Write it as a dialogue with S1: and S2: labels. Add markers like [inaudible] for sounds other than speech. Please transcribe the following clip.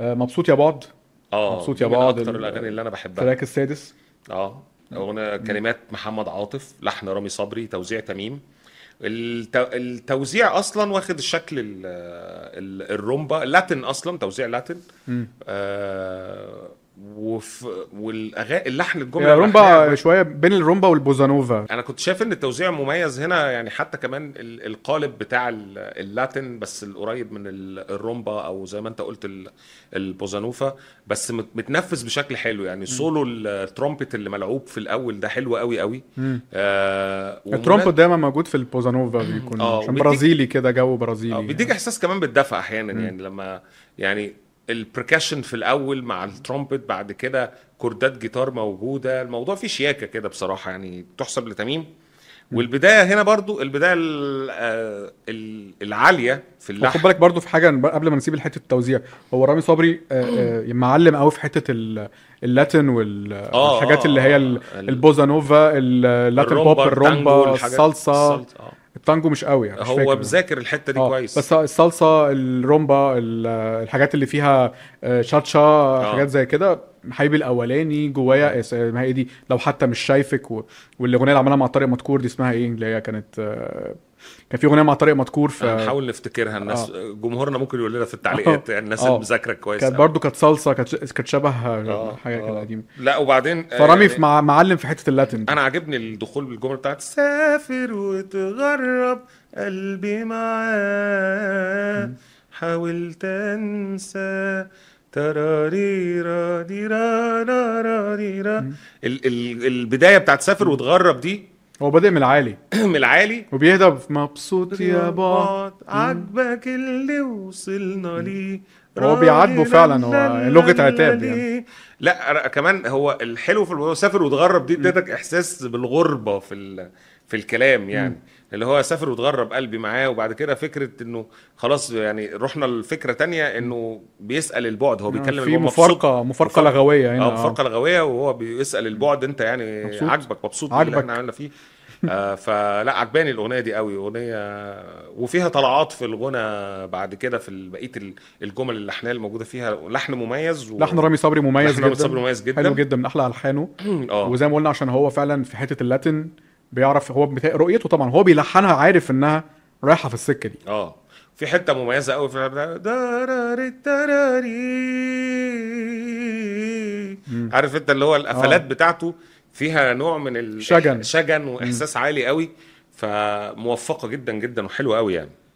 S1: آه، مبسوط يا بعد
S2: اه
S1: مبسوط
S2: دي
S1: يا
S2: من
S1: بعد
S2: اكتر
S1: ال-
S2: الاغاني اللي انا بحبها
S1: التراك السادس
S2: اه اغنيه كلمات محمد عاطف لحن رامي صبري توزيع تميم الت- التوزيع اصلا واخد الشكل ال- ال- الرومبا لاتن اصلا توزيع لاتن
S1: مم.
S2: آه وف والاغاني اللحن الجمله
S1: يا آه، رومبا
S2: ملحنية-
S1: شويه بين الرومبا والبوزانوفا
S2: انا كنت شايف ان التوزيع مميز هنا يعني حتى كمان ال- القالب بتاع ال- اللاتن بس القريب من ال- الرومبا او زي ما انت قلت ال- البوزانوفا بس مت- متنفذ بشكل حلو يعني سولو الترومبت اللي ملعوب في الاول ده حلو قوي قوي آه ومناسب-
S1: الترومبو دايما موجود في البوزانوفا بيكون
S2: آه،
S1: عشان
S2: وبيديك-
S1: برازيلي كده جو
S2: اه
S1: برازيلي يعني.
S2: بيديك احساس كمان بالدفى احيانا يعني لما يعني البركاشن في الاول مع الترومبت بعد كده كوردات جيتار موجوده الموضوع فيه شياكه كده بصراحه يعني تحسب لتميم والبدايه هنا برضو البدايه ال- آه، ال- العاليه في
S1: وخد
S2: اللحن
S1: بالك برضو في حاجه قبل ما نسيب حته التوزيع هو رامي صبري آه،
S2: [clears throat]
S1: آه، معلم قوي في حته ال- اللاتن وال-
S2: آه،
S1: والحاجات اللي هي ال-
S2: آه، ال-
S1: البوزانوفا ال- اللاتن بوب
S2: التانجو،
S1: الرومبا
S2: الحاجات-
S1: الصلصه
S2: الصلت- آه.
S1: التانجو مش قوي يعني مش
S2: هو
S1: فاكر.
S2: مذاكر الحته دي
S1: اه
S2: كويس
S1: بس الصلصه الرومبا ال- الحاجات اللي فيها آه، شاتشا حاجات زي كده حبيبي الاولاني جوايا اس- اسمها ايه دي لو حتى مش شايفك و... والاغنيه اللي عملها مع طارق مدكور دي اسمها ايه اللي هي كانت آه، كان في اغنيه مع طارق مدكور في
S2: هنحاول نفتكرها الناس جمهورنا ممكن يقول لنا في التعليقات يعني الناس
S1: آه.
S2: اللي مذاكره كويس
S1: كانت
S2: أوي.
S1: برضو كانت صلصه كانت كانت شبه
S2: آه،
S1: حاجه كده
S2: آه.
S1: قديمه
S2: لا وبعدين آه،
S1: فرامي
S2: يعني-
S1: في مع... معلم في حته اللاتين دي.
S2: انا عاجبني الدخول بالجمله بتاعت سافر وتغرب قلبي معاه حاولت انسى تراريرا ديرا رارا ديرا ال ال البدايه بتاعت سافر وتغرب دي [clears throat]
S1: هو بادئ من العالي
S2: من العالي
S1: وبيهدى في مبسوط يا با
S2: عاجبك اللي وصلنا ليه
S1: هو بيعاتبه فعلا، هو
S2: راجل
S1: لغة عتاب يعني.
S2: ليه. لا أنا كمان هو الحلو في الموضوع سافر وتغرب دي ادتك احساس بالغربه في ال... في الكلام يعني اللي هو سافر وتغرب قلبي معاه وبعد كده فكره انه خلاص يعني رحنا لفكره تانية انه بيسال البعد هو بيتكلم
S1: آه، في
S2: البعد مبسوط.
S1: مفارقه مفارقه
S2: مفارقة-
S1: لغويه هنا
S2: اه
S1: آه.
S2: مفارقه لغويه وهو بيسال البعد انت يعني
S1: مبسوط؟
S2: عاجبك مبسوط باللي
S1: عاجبك.
S2: احنا عملنا فيه آه فلا عجباني الاغنيه دي قوي اغنيه وفيها طلعات في الغنى بعد كده في ال- بقيه ال- الجمل اللحنيه اللي موجوده فيها لحن مميز و...
S1: لحن رامي صبري مميز
S2: لحن
S1: جدا
S2: رامي صبري مميز جدا.
S1: حلو جدا من احلى الحانه
S2: [clears throat] اه
S1: وزي ما قلنا عشان هو فعلا في حته اللاتين بيعرف هو بتا... رؤيته طبعا هو بيلحنها عارف انها رايحه في السكه دي
S2: اه في حته مميزه قوي في الأغنية داراري تاراري عارف انت اللي هو القفلات بتاعته فيها نوع من ال-
S1: آه. شجن.
S2: شجن واحساس عالي قوي فموفقه جدا جدا وحلوه قوي يعني